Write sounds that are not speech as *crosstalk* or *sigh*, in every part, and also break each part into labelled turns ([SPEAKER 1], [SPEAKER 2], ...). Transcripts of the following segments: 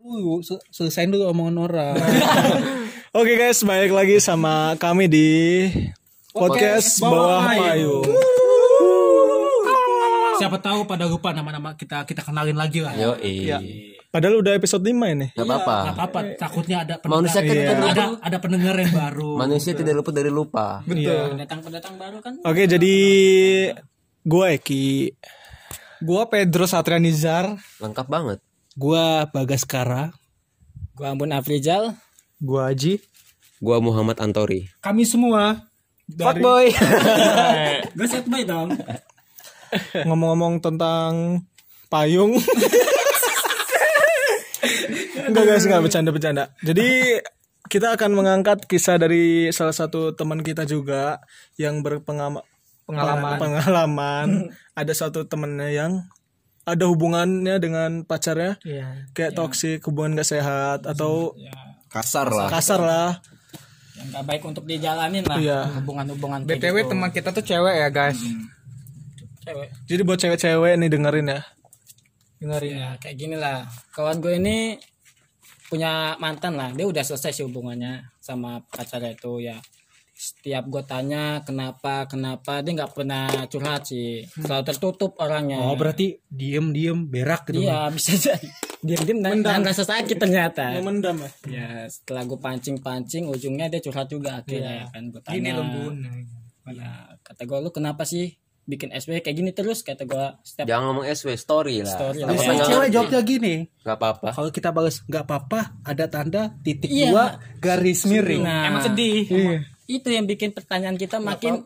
[SPEAKER 1] dulu, se- selesain dulu omongan orang.
[SPEAKER 2] Oke guys, balik lagi sama kami di podcast,
[SPEAKER 1] Podcast
[SPEAKER 2] bawah
[SPEAKER 1] Bawah
[SPEAKER 2] payung.
[SPEAKER 1] Payung.
[SPEAKER 3] *laughs* Siapa tahu pada lupa nama-nama kita kita kenalin lagi lah.
[SPEAKER 4] Yo,
[SPEAKER 5] Ya.
[SPEAKER 4] iya.
[SPEAKER 2] Padahal udah episode 5 ini.
[SPEAKER 4] Gak apa-apa.
[SPEAKER 5] Iya.
[SPEAKER 3] Gak apa-apa,
[SPEAKER 1] Iya.
[SPEAKER 3] takutnya ada
[SPEAKER 4] Manusia kan
[SPEAKER 3] pendengar,
[SPEAKER 4] kan
[SPEAKER 3] ada
[SPEAKER 4] baru-
[SPEAKER 3] ada pendengar yang
[SPEAKER 4] *laughs*
[SPEAKER 3] baru.
[SPEAKER 4] Manusia tidak luput dari lupa.
[SPEAKER 1] Iya.
[SPEAKER 5] Pendatang-pendatang baru kan
[SPEAKER 2] Oke, jadi gue Eki.
[SPEAKER 1] gua Pedro Satrianizar,
[SPEAKER 4] Lengkap banget.
[SPEAKER 1] gua Bagaskara.
[SPEAKER 5] Gua Ambon Afrizal
[SPEAKER 2] Gue Aji.
[SPEAKER 4] Gua Muhammad Antori.
[SPEAKER 1] Kami semua
[SPEAKER 4] Fuck boy.
[SPEAKER 5] Gue set boy dong
[SPEAKER 2] Ngomong-ngomong tentang payung. Enggak guys, enggak bercanda-bercanda. Jadi kita akan mengangkat kisah dari salah satu teman kita juga yang berpengalaman pengalaman. Ada satu temennya yang ada hubungannya dengan pacarnya
[SPEAKER 1] Iya.
[SPEAKER 2] kayak toksik hubungan gak sehat atau
[SPEAKER 4] Kasar lah.
[SPEAKER 2] kasar lah
[SPEAKER 5] Yang gak baik untuk dijalanin lah
[SPEAKER 2] Iya.
[SPEAKER 5] Hubungan-hubungan kayak
[SPEAKER 1] BTW
[SPEAKER 5] gitu.
[SPEAKER 1] teman kita tuh cewek ya, guys.
[SPEAKER 3] Hmm.
[SPEAKER 5] Cewek
[SPEAKER 2] jadi buat cewek-cewek nih dengerin ya
[SPEAKER 1] Dengerin.
[SPEAKER 3] Iya,
[SPEAKER 5] Ya kayak gini lah Kawan gue ini punya mantan lah Dia udah selesai sih hubungannya Sama pacarnya itu ya setiap gue tanya kenapa kenapa dia nggak pernah curhat sih selalu tertutup orangnya
[SPEAKER 1] Oh, berarti diem-diem berak gitu.
[SPEAKER 5] Iya bisa jadi. Diam-diam dan dan rasa sakit ternyata.
[SPEAKER 2] mendam ya
[SPEAKER 5] Ya setelah gue pancing-pancing ujungnya dia curhat juga akhirnya ya kan gue tanya.
[SPEAKER 1] Ini
[SPEAKER 3] Iya.
[SPEAKER 1] lembun.
[SPEAKER 5] Ya, kata gue lu kenapa sih bikin SW kayak gini terus kata gue setiap
[SPEAKER 4] Jangan ngomong SW story lah.
[SPEAKER 5] Story Iya,
[SPEAKER 4] Takutnya
[SPEAKER 5] lah. Biasanya
[SPEAKER 4] nggak
[SPEAKER 1] Cewek
[SPEAKER 4] ngerti.
[SPEAKER 1] jawabnya gini.
[SPEAKER 4] Nggak apa-apa.
[SPEAKER 1] Kalau kita balas nggak apa-apa, ada tanda titik
[SPEAKER 5] Iya.
[SPEAKER 1] dua garis miring.
[SPEAKER 5] Nah, emang sedih.
[SPEAKER 2] Iya.
[SPEAKER 5] Itu yang bikin pertanyaan kita makin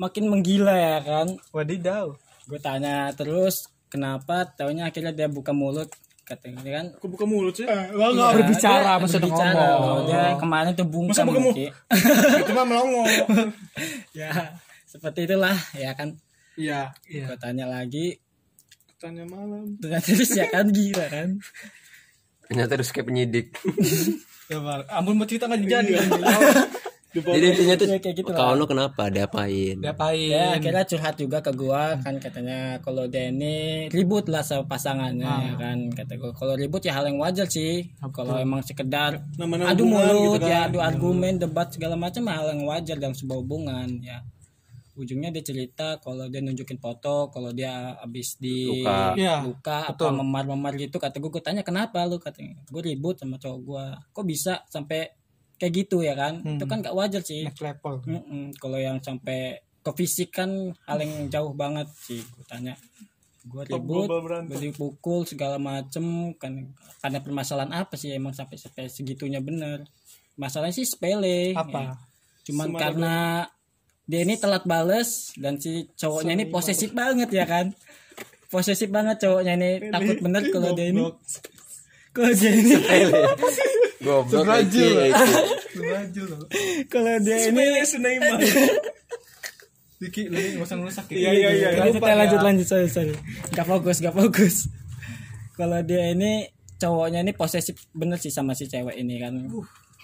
[SPEAKER 5] makin menggila ya kan.
[SPEAKER 1] Wadidaw.
[SPEAKER 5] Gue tanya terus kenapa taunya akhirnya dia buka mulut katanya dia kan
[SPEAKER 2] aku buka mulut sih *laughs*
[SPEAKER 5] Iya,
[SPEAKER 1] berbicara,
[SPEAKER 5] dia
[SPEAKER 1] maksudnya
[SPEAKER 5] berbicara,
[SPEAKER 1] ngomong.
[SPEAKER 5] Dia kemarin tuh bungkam Ki.
[SPEAKER 2] itu mah melongo
[SPEAKER 5] ya seperti itulah ya kan
[SPEAKER 2] iya
[SPEAKER 5] Gua tanya lagi
[SPEAKER 2] tanya malam
[SPEAKER 5] ternyata terus ya kan gila kan
[SPEAKER 4] Ternyata harus kayak penyidik.
[SPEAKER 2] Ya,
[SPEAKER 1] Ampun mau cerita nggak jadi.
[SPEAKER 2] Iya. *laughs*
[SPEAKER 4] Jadi intinya tuh
[SPEAKER 5] Ya, kayak gitu lah.
[SPEAKER 4] kawan lu kenapa? Diapain?
[SPEAKER 1] Ngapain?
[SPEAKER 5] ya akhirnya curhat juga ke gua kan katanya kalau Denny ribut lah sama pasangannya
[SPEAKER 2] Ah.
[SPEAKER 5] ya kan kata gua kalau ribut ya hal yang wajar sih kalau emang sekedar
[SPEAKER 2] Namanya
[SPEAKER 5] adu
[SPEAKER 2] hubungan
[SPEAKER 5] mulut
[SPEAKER 2] gitu
[SPEAKER 5] ya adu argumen debat segala macam ya hal yang wajar dalam sebuah hubungan ya ujungnya dia cerita kalau dia nunjukin foto kalau dia abis di
[SPEAKER 4] Luka.
[SPEAKER 2] Iya,
[SPEAKER 5] luka apa memar-memar gitu kata gue gue tanya kenapa lu katanya gue ribut sama cowok gue kok bisa sampai kayak gitu ya kan
[SPEAKER 2] Hmm.
[SPEAKER 5] itu kan gak wajar
[SPEAKER 2] Nah,
[SPEAKER 5] sih
[SPEAKER 1] level.
[SPEAKER 5] Mm-mm. kalau yang sampai ke fisik kan hal yang jauh banget sih gue tanya gue ribut
[SPEAKER 2] global berantem.
[SPEAKER 5] gue dipukul segala macem kan karena permasalahan apa sih emang sampai sampai segitunya bener masalahnya sih sepele ya.
[SPEAKER 1] Apa?
[SPEAKER 5] cuman karena dia ini telat bales dan si cowoknya ini posesif banget ya kan posesif banget cowoknya ini takut bener kalau dia ini kalau dia ini
[SPEAKER 4] Goblok Eki, Eki.
[SPEAKER 5] kalau dia ini
[SPEAKER 1] Diki, lu nggak usah ngerusak ya.
[SPEAKER 2] iya iya iya
[SPEAKER 5] lanjut ya, lanjut lanjut sorry sorry gak fokus gak fokus kalau dia ini cowoknya ini posesif bener sih sama si cewek ini kan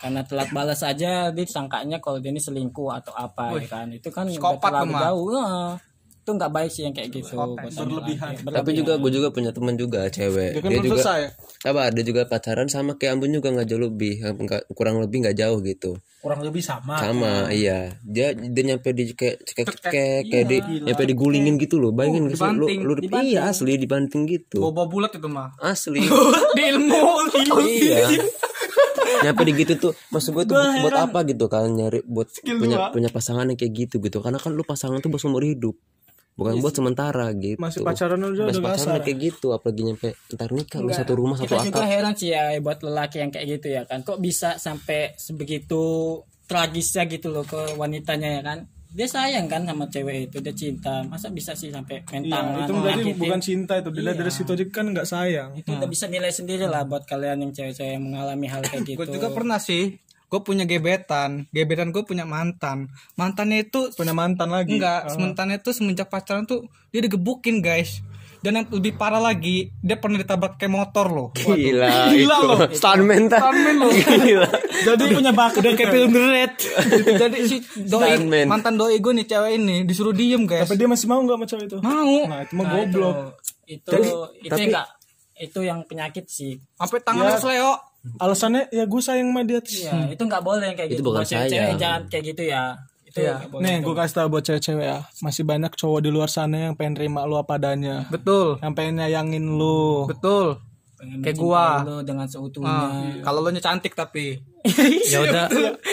[SPEAKER 5] karena telat balas aja dia sangkanya kalau dia ini selingkuh atau apa ya kan itu kan udah
[SPEAKER 1] Psikopat
[SPEAKER 5] terlalu
[SPEAKER 1] lu, Ma.
[SPEAKER 5] jauh Nah, itu nggak baik sih yang kayak gitu berlebihan *laughs*
[SPEAKER 4] Tapi juga gue juga punya teman juga cewek.
[SPEAKER 2] kan
[SPEAKER 4] Dia
[SPEAKER 2] belum
[SPEAKER 4] juga
[SPEAKER 2] selesai
[SPEAKER 4] apa? Dia juga pacaran sama kayak Ambon juga nggak jauh lebih, nggak- kurang lebih nggak jauh gitu.
[SPEAKER 3] Kurang lebih sama.
[SPEAKER 4] sama iya dia dia nyampe di kayak cekek cekek kayak di nyampe digulingin gitu loh bayangin gak sih lu lu iya asli dibanting gitu
[SPEAKER 1] Bobo bulat itu mah.
[SPEAKER 4] asli
[SPEAKER 5] Oh,
[SPEAKER 4] iya nyampe di gitu tuh maksud gue tuh buat, buat apa gitu kan nyari buat punya punya pasangan yang kayak gitu gitu karena kan lu pasangan tuh buat seumur hidup bukan buat sementara gitu
[SPEAKER 2] masih pacaran aja
[SPEAKER 4] Masih
[SPEAKER 2] udah
[SPEAKER 4] pacaran kayak gitu apalagi nyampe ntar nikah lu satu rumah satu
[SPEAKER 5] kita juga
[SPEAKER 4] atap
[SPEAKER 5] heran sih ya buat lelaki yang kayak gitu ya kan kok bisa sampai sebegitu tragisnya gitu loh ke wanitanya ya kan dia sayang kan sama cewek itu dia cinta masa bisa sih
[SPEAKER 1] Iya,
[SPEAKER 5] sampai main tangan
[SPEAKER 2] itu berarti
[SPEAKER 5] nyakitin?
[SPEAKER 2] bukan cinta itu bila dari situ aja kan nggak sayang
[SPEAKER 5] itu udah bisa nilai sendiri lah buat kalian yang cewek-cewek yang mengalami hal
[SPEAKER 1] *laughs*
[SPEAKER 5] kayak gitu
[SPEAKER 1] Gue juga pernah sih. Gue punya gebetan. Gebetan gue punya mantan. Mantannya itu
[SPEAKER 2] punya mantan lagi
[SPEAKER 1] enggak. Mantannya itu semenjak pacaran tuh dia digebukin guys. Dan yang lebih parah lagi, dia pernah ditabrak kayak motor loh.
[SPEAKER 4] gila itu *laughs* stuntman ta gila
[SPEAKER 1] Jadi punya bakat udah kayak film The Red. Gitu. Jadi si doi
[SPEAKER 4] Stuntman.
[SPEAKER 1] mantan doi gue nih cewek ini disuruh diem guys.
[SPEAKER 2] tapi dia masih mau nggak sama cewek itu
[SPEAKER 1] Mau.
[SPEAKER 2] nah itu mah goblok
[SPEAKER 5] itu itu yang nggak itu yang penyakit sih
[SPEAKER 1] sampai tangan lu seleo
[SPEAKER 2] alasannya ya gue sayang sama dia terus.
[SPEAKER 5] Iya, itu nggak boleh kayak
[SPEAKER 4] Hmm. Itu
[SPEAKER 5] gitu.
[SPEAKER 4] bukan
[SPEAKER 5] Buat cewek-cewek
[SPEAKER 4] sayang.
[SPEAKER 5] jangan kayak gitu ya. Itu
[SPEAKER 1] Iya.
[SPEAKER 5] nggak boleh.
[SPEAKER 2] nih gue kasih tau buat cewek-cewek ya masih banyak cowok di luar sana yang pengen terima lu apa adanya
[SPEAKER 1] betul
[SPEAKER 2] yang pengen nyayangin lu
[SPEAKER 1] betul
[SPEAKER 5] Pengen
[SPEAKER 1] kayak
[SPEAKER 5] mencintai
[SPEAKER 1] gua.
[SPEAKER 5] lu dengan seutuhnya.
[SPEAKER 1] Ah, kalau lu nya cantik tapi
[SPEAKER 3] ya udah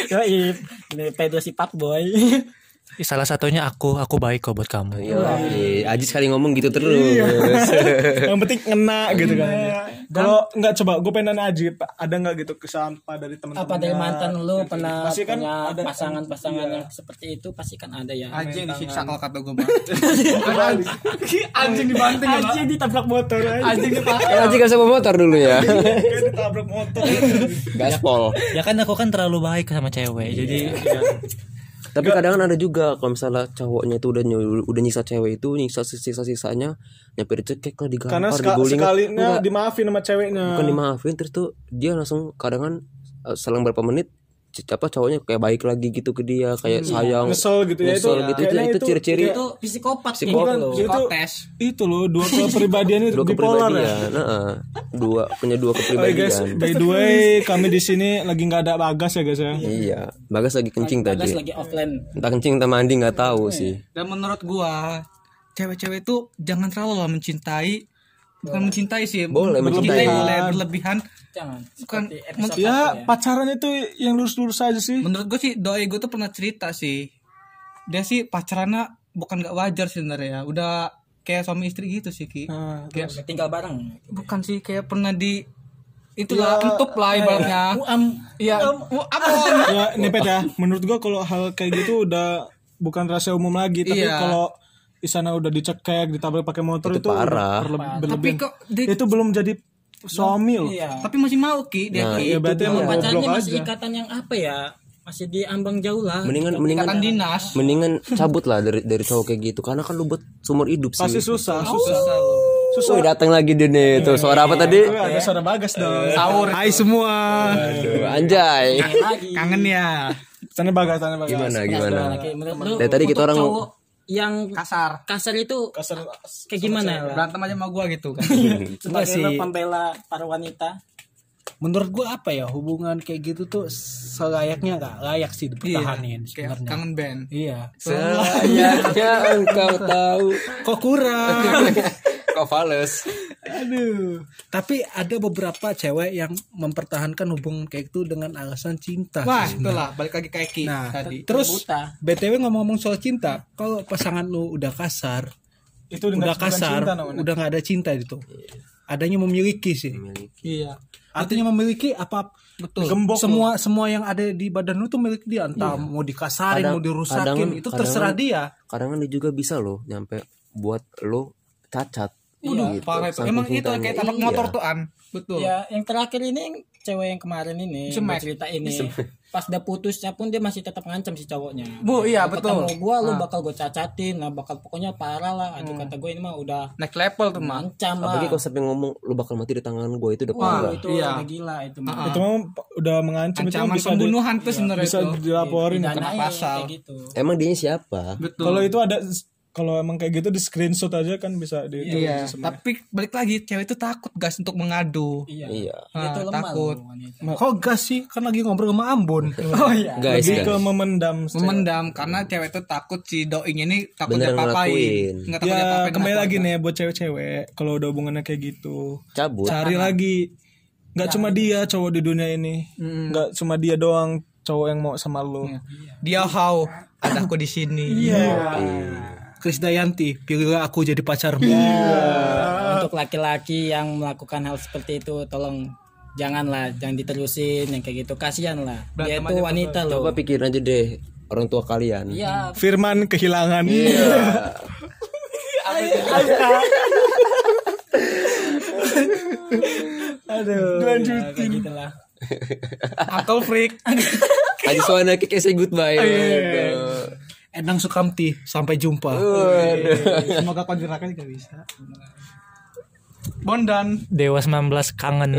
[SPEAKER 5] Yo, ini pedo si Pak Boy.
[SPEAKER 3] salah satunya aku aku baik kok buat kamu
[SPEAKER 4] Iya, Ajis kali ngomong gitu
[SPEAKER 2] Iya.
[SPEAKER 4] *laughs* terus.
[SPEAKER 2] yang penting ngena gitu kan
[SPEAKER 5] Iya.
[SPEAKER 2] kalau nggak coba gue pengen nanya Ajib ada nggak gitu kesan apa dari teman-teman
[SPEAKER 5] Apa dari mantan lu pernah
[SPEAKER 2] Pasti kan
[SPEAKER 5] punya
[SPEAKER 2] ada-
[SPEAKER 5] pasangan-pasangan
[SPEAKER 2] iya.
[SPEAKER 5] yang seperti itu pasti kan ada ya.
[SPEAKER 1] anjing disiksa kalau kata gua Bang.
[SPEAKER 2] anjing dibanting
[SPEAKER 5] Anjing ditabrak motor aja.
[SPEAKER 4] Eh, Ajis gak sama motor dulu
[SPEAKER 2] *laughs*
[SPEAKER 4] ya.
[SPEAKER 2] kayak ditabrak motor
[SPEAKER 4] Gaspol.
[SPEAKER 3] ya kan aku kan terlalu baik sama
[SPEAKER 5] Iya.
[SPEAKER 3] cewek jadi
[SPEAKER 4] Tapi kadang kan ada juga kalau misalnya cowoknya itu udah nyu- udah nyiksa cewek itu nyiksa sisa sisanya nyampe dicekek lah digampar
[SPEAKER 2] karena seka- Nah.
[SPEAKER 4] diguling
[SPEAKER 2] sekalinya dimaafin sama ceweknya
[SPEAKER 4] bukan dimaafin terus tuh dia langsung kadang kan eh, selang berapa menit c- apa cowoknya kayak baik lagi gitu ke dia kayak sayang
[SPEAKER 2] Nyesel gitu ya, itu-
[SPEAKER 4] Nyesel gitu. itu,
[SPEAKER 2] kayaknya
[SPEAKER 4] itu
[SPEAKER 2] itu-
[SPEAKER 4] ciri-ciri
[SPEAKER 5] Itu psikopat kayak
[SPEAKER 4] Psikopat.
[SPEAKER 5] gitu loh.
[SPEAKER 2] itu
[SPEAKER 1] Tes.
[SPEAKER 2] itu loh dua kepribadian itu
[SPEAKER 4] dua
[SPEAKER 2] bipolar ya Oh,
[SPEAKER 4] kepribadian Iya, Heeh. dua punya dua
[SPEAKER 2] Oke guys,
[SPEAKER 4] kepribadian
[SPEAKER 2] by the way kami di sini lagi nggak ada bagas ya guys ya.
[SPEAKER 4] iya bagas lagi kencing
[SPEAKER 5] Bagas
[SPEAKER 4] tadi
[SPEAKER 5] lagi offline.
[SPEAKER 4] entah kencing entah mandi nggak tahu sih
[SPEAKER 1] dan menurut gua cewek-cewek itu jangan terlalu lah mencintai bukan mencintai sih
[SPEAKER 4] Boleh,
[SPEAKER 1] mencintai
[SPEAKER 4] mencintai.
[SPEAKER 1] boleh berlebihan
[SPEAKER 5] Jangan.
[SPEAKER 1] bukan men-
[SPEAKER 2] Ya pacaran itu yang lurus-lurus aja sih.
[SPEAKER 1] menurut gue sih doi gue tuh pernah cerita sih dia sih pacarannya bukan gak wajar sih sebenarnya udah kayak suami istri gitu sih ki
[SPEAKER 2] Nah,
[SPEAKER 1] Kayak-
[SPEAKER 5] Tinggal bareng.
[SPEAKER 1] bukan sih kayak pernah di itulah entup lah ibaratnya iya
[SPEAKER 5] Iya.
[SPEAKER 1] mu- apa
[SPEAKER 2] ya nepet ya. Menurut gua kalau hal kayak gitu udah bukan rahasia umum lagi. Tapi
[SPEAKER 1] Iya.
[SPEAKER 2] kalau di sana udah dicekek, ditabrak pakai motor itu, udah
[SPEAKER 4] parah.
[SPEAKER 2] berle-
[SPEAKER 1] tapi
[SPEAKER 2] berlebihan.
[SPEAKER 1] kok dia-
[SPEAKER 2] Itu belum jadi suami loh.
[SPEAKER 5] Iya.
[SPEAKER 1] tapi masih mau ki dia ki
[SPEAKER 2] Ya berarti emang
[SPEAKER 5] Pacarnya
[SPEAKER 2] goblok
[SPEAKER 5] masih
[SPEAKER 2] aja.
[SPEAKER 5] ikatan yang apa ya? Masih di ambang jauh lah.
[SPEAKER 4] mendingan mendingan
[SPEAKER 1] kan dinas
[SPEAKER 4] mendingan cabut lah dari dari cowok kayak gitu karena kan lu buat seumur hidup sih
[SPEAKER 2] Pasti susah, susah.
[SPEAKER 4] Susah. Wih, datang lagi dia nih tuh suara apa tadi?
[SPEAKER 2] Wah, ada suara bagas dong. Sahur. Hai semua.
[SPEAKER 4] Aduh, anjay.
[SPEAKER 5] lagi.
[SPEAKER 1] kangen ya
[SPEAKER 2] Sana bagas, sana bagas.
[SPEAKER 4] Gimana gimana?
[SPEAKER 5] Oke, menurut lu
[SPEAKER 4] Dari tadi kita
[SPEAKER 5] untuk
[SPEAKER 4] orang *laughs*
[SPEAKER 5] cowok yang
[SPEAKER 1] kasar
[SPEAKER 5] kasar itu
[SPEAKER 2] Kasar.
[SPEAKER 5] kayak gimana lah?
[SPEAKER 1] berantem aja sama gue gitu kan
[SPEAKER 3] Iya
[SPEAKER 5] Sebagai lu pembela para wanita.
[SPEAKER 3] menurut gua apa ya hubungan kayak gitu tuh selayaknya nggak layak sih dipertahanin
[SPEAKER 1] Iya, kayak
[SPEAKER 3] sebenarnya
[SPEAKER 1] kangen band
[SPEAKER 3] iya
[SPEAKER 4] Selayaknya Iya, ya, engkau tahu
[SPEAKER 3] kok kurang
[SPEAKER 1] *laughs*
[SPEAKER 4] kau fales.
[SPEAKER 3] Aduh. Tapi ada beberapa cewek yang mempertahankan hubungan kayak itu dengan alasan cinta.
[SPEAKER 1] wah
[SPEAKER 3] sih.
[SPEAKER 1] itulah balik lagi ke Eki
[SPEAKER 3] Nah,
[SPEAKER 1] tadi
[SPEAKER 3] terus
[SPEAKER 5] Buta.
[SPEAKER 3] BTW ngomong-ngomong soal cinta, kalau pasangan lu udah kasar,
[SPEAKER 2] Itu
[SPEAKER 3] udah
[SPEAKER 2] dengan
[SPEAKER 3] kasar, udah nggak ada cinta gitu. Adanya memiliki sih. Iya. Artinya memiliki apa betul.
[SPEAKER 2] Gembok lu.
[SPEAKER 3] semua semua yang ada di badan lu tuh milik dia, entah mau dikasarin,
[SPEAKER 4] Kadang-
[SPEAKER 3] mau dirusakin,
[SPEAKER 4] kadang-
[SPEAKER 3] itu
[SPEAKER 4] kadang-
[SPEAKER 3] terserah dia.
[SPEAKER 4] Kadang kan dia juga bisa loh nyampe buat lo cacat. Gitu.
[SPEAKER 1] Waduh, parah itu.
[SPEAKER 4] Saking
[SPEAKER 1] Emang itu
[SPEAKER 4] cintanya.
[SPEAKER 1] kayak tabrak
[SPEAKER 4] Iya.
[SPEAKER 1] motor tuh an. Betul.
[SPEAKER 5] Ya, yang terakhir ini yang cewek yang kemarin ini yang
[SPEAKER 1] Semek.
[SPEAKER 5] gua cerita ini. Pas udah putusnya pun dia masih tetap ngancam si cowoknya.
[SPEAKER 1] Bu, iya
[SPEAKER 5] Kalau
[SPEAKER 1] betul.
[SPEAKER 5] Ketemu gua lu bakal gue cacatin, lah bakal pokoknya parah lah. Aduh
[SPEAKER 1] Hmm.
[SPEAKER 5] kata gue ini mah udah
[SPEAKER 1] Naik level tuh, Mang.
[SPEAKER 5] ngancam lah.
[SPEAKER 4] Apalagi kalau sampai ngomong lu bakal mati di tangan gue itu udah
[SPEAKER 5] Wah,
[SPEAKER 4] parah.
[SPEAKER 5] itu
[SPEAKER 1] Iya.
[SPEAKER 5] udah gila itu mah.
[SPEAKER 3] Ah.
[SPEAKER 2] Itu mah udah mengancam itu
[SPEAKER 1] Ancaman
[SPEAKER 2] bisa di-
[SPEAKER 1] pembunuhan tuh sebenarnya
[SPEAKER 2] bisa
[SPEAKER 1] itu.
[SPEAKER 2] dilaporin.
[SPEAKER 3] Iya,
[SPEAKER 5] Danain,
[SPEAKER 1] pasal.
[SPEAKER 5] kayak gitu.
[SPEAKER 4] Emang dia siapa?
[SPEAKER 1] Betul.
[SPEAKER 2] Kalau itu ada kalau emang kayak gitu di screenshot aja kan bisa di
[SPEAKER 1] iya. Tapi balik lagi cewek itu takut guys untuk mengadu.
[SPEAKER 5] Iya.
[SPEAKER 4] Iya.
[SPEAKER 5] Dia
[SPEAKER 1] Ah,
[SPEAKER 5] tuh lemah
[SPEAKER 1] takut.
[SPEAKER 5] loh, wanita.
[SPEAKER 3] Kok gas sih? Kan lagi ngobrol sama
[SPEAKER 2] *laughs*
[SPEAKER 3] Ambon.
[SPEAKER 1] Oh iya.
[SPEAKER 4] Guys,
[SPEAKER 2] lebih ke
[SPEAKER 4] guys.
[SPEAKER 2] memendam
[SPEAKER 1] Memendam karena cewek itu takut si doing ini takut
[SPEAKER 4] Bener
[SPEAKER 1] dia papain.
[SPEAKER 4] ngelakuin.
[SPEAKER 1] Enggak takut dia
[SPEAKER 2] ya
[SPEAKER 1] papain.
[SPEAKER 2] kembali lagi nih buat cewek-cewek kalau udah hubungannya kayak gitu
[SPEAKER 4] Cabut.
[SPEAKER 2] cari lagi nggak cuma dia cowok di dunia ini nggak cuma dia doang cowok yang mau sama lu
[SPEAKER 3] Iya.
[SPEAKER 1] Dia how ada aku di sini.
[SPEAKER 2] Iya.
[SPEAKER 3] Krisdayanti, pilihlah aku jadi pacarmu.
[SPEAKER 5] Untuk laki-laki yang melakukan hal seperti itu tolong janganlah jangan diterusin yang kayak gitu kasihan lah dia itu wanita loh
[SPEAKER 4] Coba pikirin aja deh orang tua kalian.
[SPEAKER 5] Iya,
[SPEAKER 2] Firman kehilangan
[SPEAKER 4] Iya.
[SPEAKER 5] kayak gitulah.
[SPEAKER 1] Uncle freak.
[SPEAKER 4] Aja soalnya kayak say goodbye. Aduh.
[SPEAKER 3] Endang Sukamti, sampai jumpa.
[SPEAKER 4] Waduh.
[SPEAKER 3] Semoga kontrakan gak bisa.
[SPEAKER 1] Bondan
[SPEAKER 6] Dewa 19 kangen.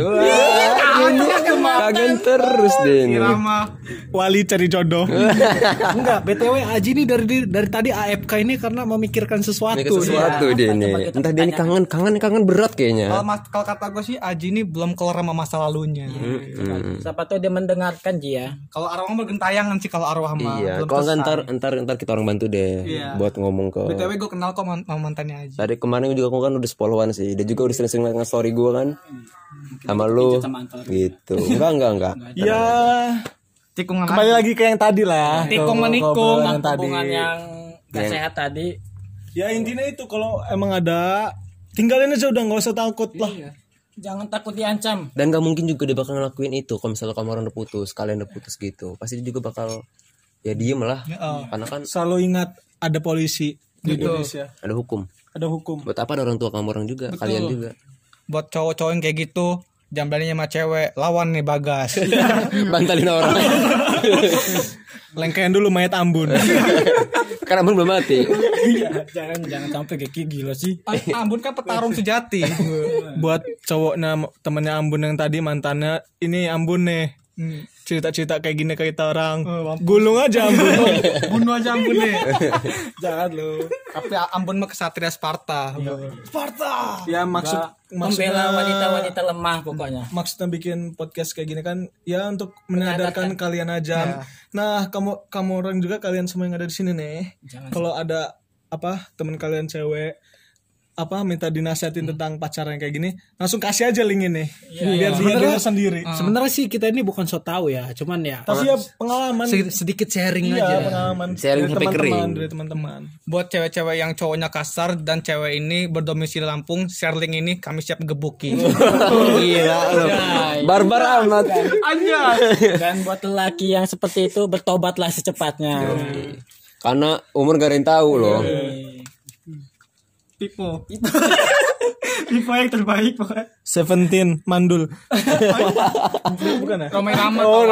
[SPEAKER 4] Kangen terus deh ini.
[SPEAKER 1] Irama
[SPEAKER 2] Wali cari jodoh.
[SPEAKER 3] Enggak, BTW Aji ini dari dari tadi AFK ini karena memikirkan
[SPEAKER 4] Ini
[SPEAKER 3] sesuatu.
[SPEAKER 4] ke sesuatu dia ini. Entah dia Oh, ini kangen, kangen kangen berat
[SPEAKER 1] kalau
[SPEAKER 4] kayaknya.
[SPEAKER 1] mas- kalau kata gue sih Aji ini belum kelar sama masa lalunya
[SPEAKER 5] Iya.
[SPEAKER 4] Mm-mm.
[SPEAKER 5] Siapa tuh dia mendengarkan ya. dia.
[SPEAKER 1] kalau arwah mah gentayangan sih kalau arwah mah
[SPEAKER 4] Iya,
[SPEAKER 1] belum
[SPEAKER 4] kalau nggak
[SPEAKER 1] selesai.
[SPEAKER 4] ntar ntar ntar kita orang bantu deh
[SPEAKER 1] Iya.
[SPEAKER 4] buat ngomong ke.
[SPEAKER 1] btw gue kenal kok man- sama mantannya Aji
[SPEAKER 4] Tadi kemarin juga aku kan udah sepolowan sih. Dia juga udah sering-sering nge story gue kan. Sama lu. Gitu. Enggak, enggak, enggak.
[SPEAKER 2] Ya,
[SPEAKER 1] tikungan
[SPEAKER 2] kembali lagi ke yang tadi lah.
[SPEAKER 1] tikung
[SPEAKER 2] Kalau-
[SPEAKER 1] menikung
[SPEAKER 2] kalau yang tadi.
[SPEAKER 5] Hubungan yang gak sehat tadi.
[SPEAKER 2] Ya intinya itu kalau emang ada tinggalin aja udah nggak usah takut lah.
[SPEAKER 5] Jangan takut diancam.
[SPEAKER 4] Dan gak mungkin juga dia bakal ngelakuin itu kalau misalnya kamu orang udah putus, kalian udah putus gitu. Pasti dia juga bakal ya diem lah. Karena kan
[SPEAKER 2] Selalu ingat ada polisi di Indonesia,
[SPEAKER 4] ada hukum.
[SPEAKER 2] ada hukum.
[SPEAKER 4] Buat apa ada orang tua kamu orang juga, kalian juga. *laughs*
[SPEAKER 1] buat cowok-cowok yang kayak gitu jambannya sama cewek lawan nih bagas *laughs*
[SPEAKER 4] Bantalin *laughs* orang.
[SPEAKER 2] Lengkain dulu mayat Ambon.
[SPEAKER 4] Karena Ambon belum mati.
[SPEAKER 5] Jangan jangan sampai kayak gila sih.
[SPEAKER 1] Am- Ambon kan petarung sejati
[SPEAKER 2] Buat cowoknya temennya Ambon yang tadi mantannya ini Ambon nih. Cerita-cerita kayak gini ke kita orang. Gulung aja Ambon.
[SPEAKER 1] bunuh aja Ambon deh jangan lu tapi Ambon mah kesatria Sparta Sparta
[SPEAKER 2] ya maksud maksudnya
[SPEAKER 5] Membela wanita-wanita lemah pokoknya.
[SPEAKER 2] maksudnya bikin podcast kayak gini kan ya untuk menyadarkan kalian aja. Nah, kamu kamu orang juga kalian semua yang ada di sini nih. Kalau ada apa teman kalian cewek apa minta dinasihatin tentang pacaran kayak gini, langsung kasih aja link ini. Biar dia denger sendiri.
[SPEAKER 6] Iya.
[SPEAKER 3] Sebenarnya sih kita ini bukan so tahu ya, cuman ya
[SPEAKER 2] Tapi ya pengalaman
[SPEAKER 3] se- sedikit sharing
[SPEAKER 2] iya,
[SPEAKER 3] aja.
[SPEAKER 2] pengalaman dari
[SPEAKER 4] Sharing sampai
[SPEAKER 2] teman-teman,
[SPEAKER 4] kering.
[SPEAKER 2] dari teman-teman.
[SPEAKER 1] buat cewek-cewek yang cowoknya kasar dan cewek ini berdomisili Lampung share link ini kami siap gebuki
[SPEAKER 4] Gila lu. Barbar amat.
[SPEAKER 5] Dan buat lelaki yang seperti itu bertobatlah secepatnya.
[SPEAKER 4] Karena umur gak ada yang tahu loh.
[SPEAKER 1] Pipo Pipo yang terbaik pokoknya
[SPEAKER 2] Seventeen mandul. Bukan ya?
[SPEAKER 1] Romai Rama oh,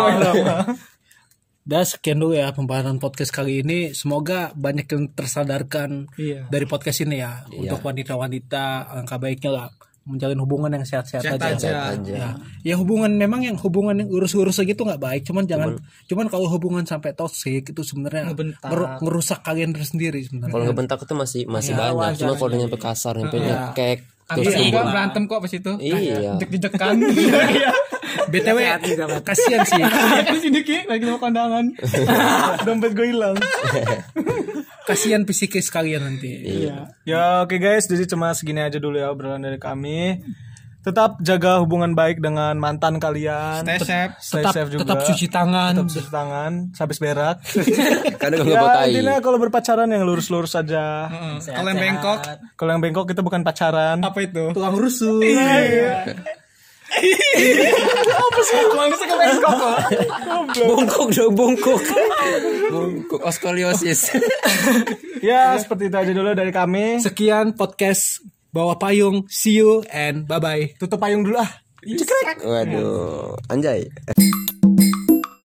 [SPEAKER 3] Dan sekian dulu ya pembahasan podcast kali ini. Semoga banyak yang tersadarkan dari podcast ini ya. Untuk wanita-wanita langkah baiknya lah menjalin hubungan yang sehat-sehat aja. Ya. ya hubungan memang yang hubungan yang urus-urus gitu nggak baik. Cuman jangan cuman kalau hubungan sampai toksik itu sebenarnya ngeru- ngerusak kalian sendiri sebenarnya.
[SPEAKER 4] Kalau nggak bentak itu masih masih banyak. Cuma kalau udah nyampe kasar, nyampe nyekek, terus
[SPEAKER 1] Iya, enggak berantem kok pas itu.
[SPEAKER 4] Iya.
[SPEAKER 1] Jek-jekan. Iya.
[SPEAKER 3] BTW kasihan sih.
[SPEAKER 1] Terus ini Ki lagi sama kondangan.
[SPEAKER 2] Dompet gue hilang.
[SPEAKER 3] kasihan psikis kalian nanti.
[SPEAKER 2] Ya oke guys, jadi cuma segini aja dulu ya obrolan dari kami. Tetap jaga hubungan baik dengan mantan kalian.
[SPEAKER 1] Stay safe.
[SPEAKER 2] Stay
[SPEAKER 3] tetap
[SPEAKER 2] safe juga.
[SPEAKER 3] tetap cuci tangan.
[SPEAKER 2] Tetap cuci tangan, habis berak.
[SPEAKER 4] Karena kalau nggak
[SPEAKER 2] ya
[SPEAKER 4] botai.
[SPEAKER 2] intinya kalau berpacaran yang lurus-lurus aja.
[SPEAKER 1] Kalau yang bengkok
[SPEAKER 2] Kalau yang bengkok kita bukan pacaran.
[SPEAKER 1] apa itu?
[SPEAKER 3] Tulang rusuh.
[SPEAKER 4] Iya. Bongkok dong, bongkok. bongkok oskoliosis.
[SPEAKER 2] Ya seperti itu aja dulu dari kami.
[SPEAKER 3] Sekian podcast Bawa Payung. See you and bye-bye.
[SPEAKER 2] Tutup payung dulu ah.
[SPEAKER 4] *laughs* Waduh, anjay.